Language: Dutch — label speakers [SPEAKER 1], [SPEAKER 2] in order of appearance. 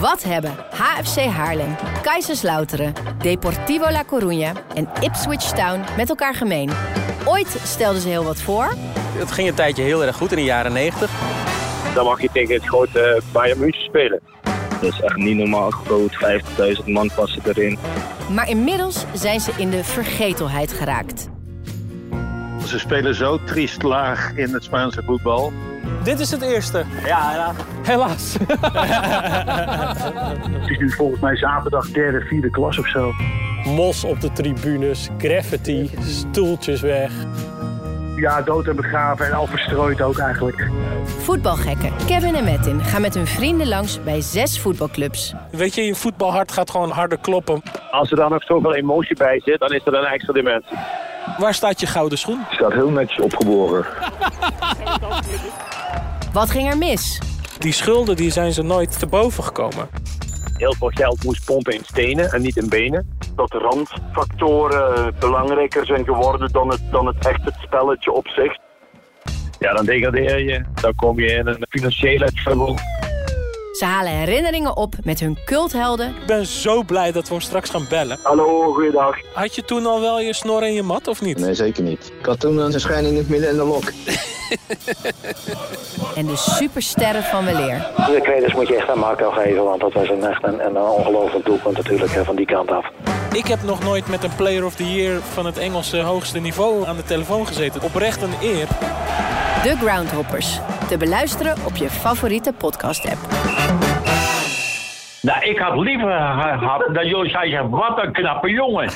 [SPEAKER 1] Wat hebben HFC Haarlem, Kaiserslauteren, Deportivo La Coruña en Ipswich Town met elkaar gemeen? Ooit stelden ze heel wat voor,
[SPEAKER 2] Het ging een tijdje heel erg goed in de jaren 90.
[SPEAKER 3] Dan mag je tegen het grote Bayern München spelen.
[SPEAKER 4] Dat is echt niet normaal groot. 50.000 man passen erin.
[SPEAKER 1] maar inmiddels zijn ze in de vergetelheid geraakt.
[SPEAKER 5] Ze spelen zo triest laag in het Spaanse voetbal.
[SPEAKER 2] Dit is het eerste.
[SPEAKER 3] Ja, ja.
[SPEAKER 2] Helaas.
[SPEAKER 5] Het is nu volgens mij zaterdag derde, vierde klas of zo.
[SPEAKER 6] Mos op de tribunes, graffiti, stoeltjes weg.
[SPEAKER 5] Ja, dood en begraven en al verstrooid ook eigenlijk.
[SPEAKER 1] Voetbalgekken Kevin en Metin gaan met hun vrienden langs bij zes voetbalclubs.
[SPEAKER 6] Weet je, je voetbalhart gaat gewoon harder kloppen.
[SPEAKER 3] Als er dan nog zoveel emotie bij zit, dan is er een extra dimensie.
[SPEAKER 2] Waar staat je gouden schoen?
[SPEAKER 4] Staat heel netjes opgeboren.
[SPEAKER 1] Wat ging er mis?
[SPEAKER 6] Die schulden die zijn ze nooit te boven gekomen.
[SPEAKER 3] Heel veel geld moest pompen in stenen en niet in benen.
[SPEAKER 7] dat de randfactoren eh, belangrijker zijn geworden dan het, dan het echt het spelletje op zich.
[SPEAKER 3] Ja, dan degradeer je. Dan kom je in een financiële trouble.
[SPEAKER 1] Ze halen herinneringen op met hun culthelden
[SPEAKER 6] Ik ben zo blij dat we hem straks gaan bellen.
[SPEAKER 7] Hallo, goeiedag.
[SPEAKER 6] Had je toen al wel je snor en je mat of niet?
[SPEAKER 4] Nee, zeker niet. Ik had toen een schijn in het midden en de lok.
[SPEAKER 1] en de supersterren van weleer.
[SPEAKER 8] De credits moet je echt aan Marco geven, want dat was een, echt een, een ongelooflijk doelpunt natuurlijk hè, van die kant af.
[SPEAKER 6] Ik heb nog nooit met een Player of the Year van het Engelse hoogste niveau aan de telefoon gezeten. Oprecht een eer.
[SPEAKER 1] De Groundhoppers. Te beluisteren op je favoriete podcast-app.
[SPEAKER 5] Nou, ik had liever gehad dat jullie zeiden, wat een knappe jongen.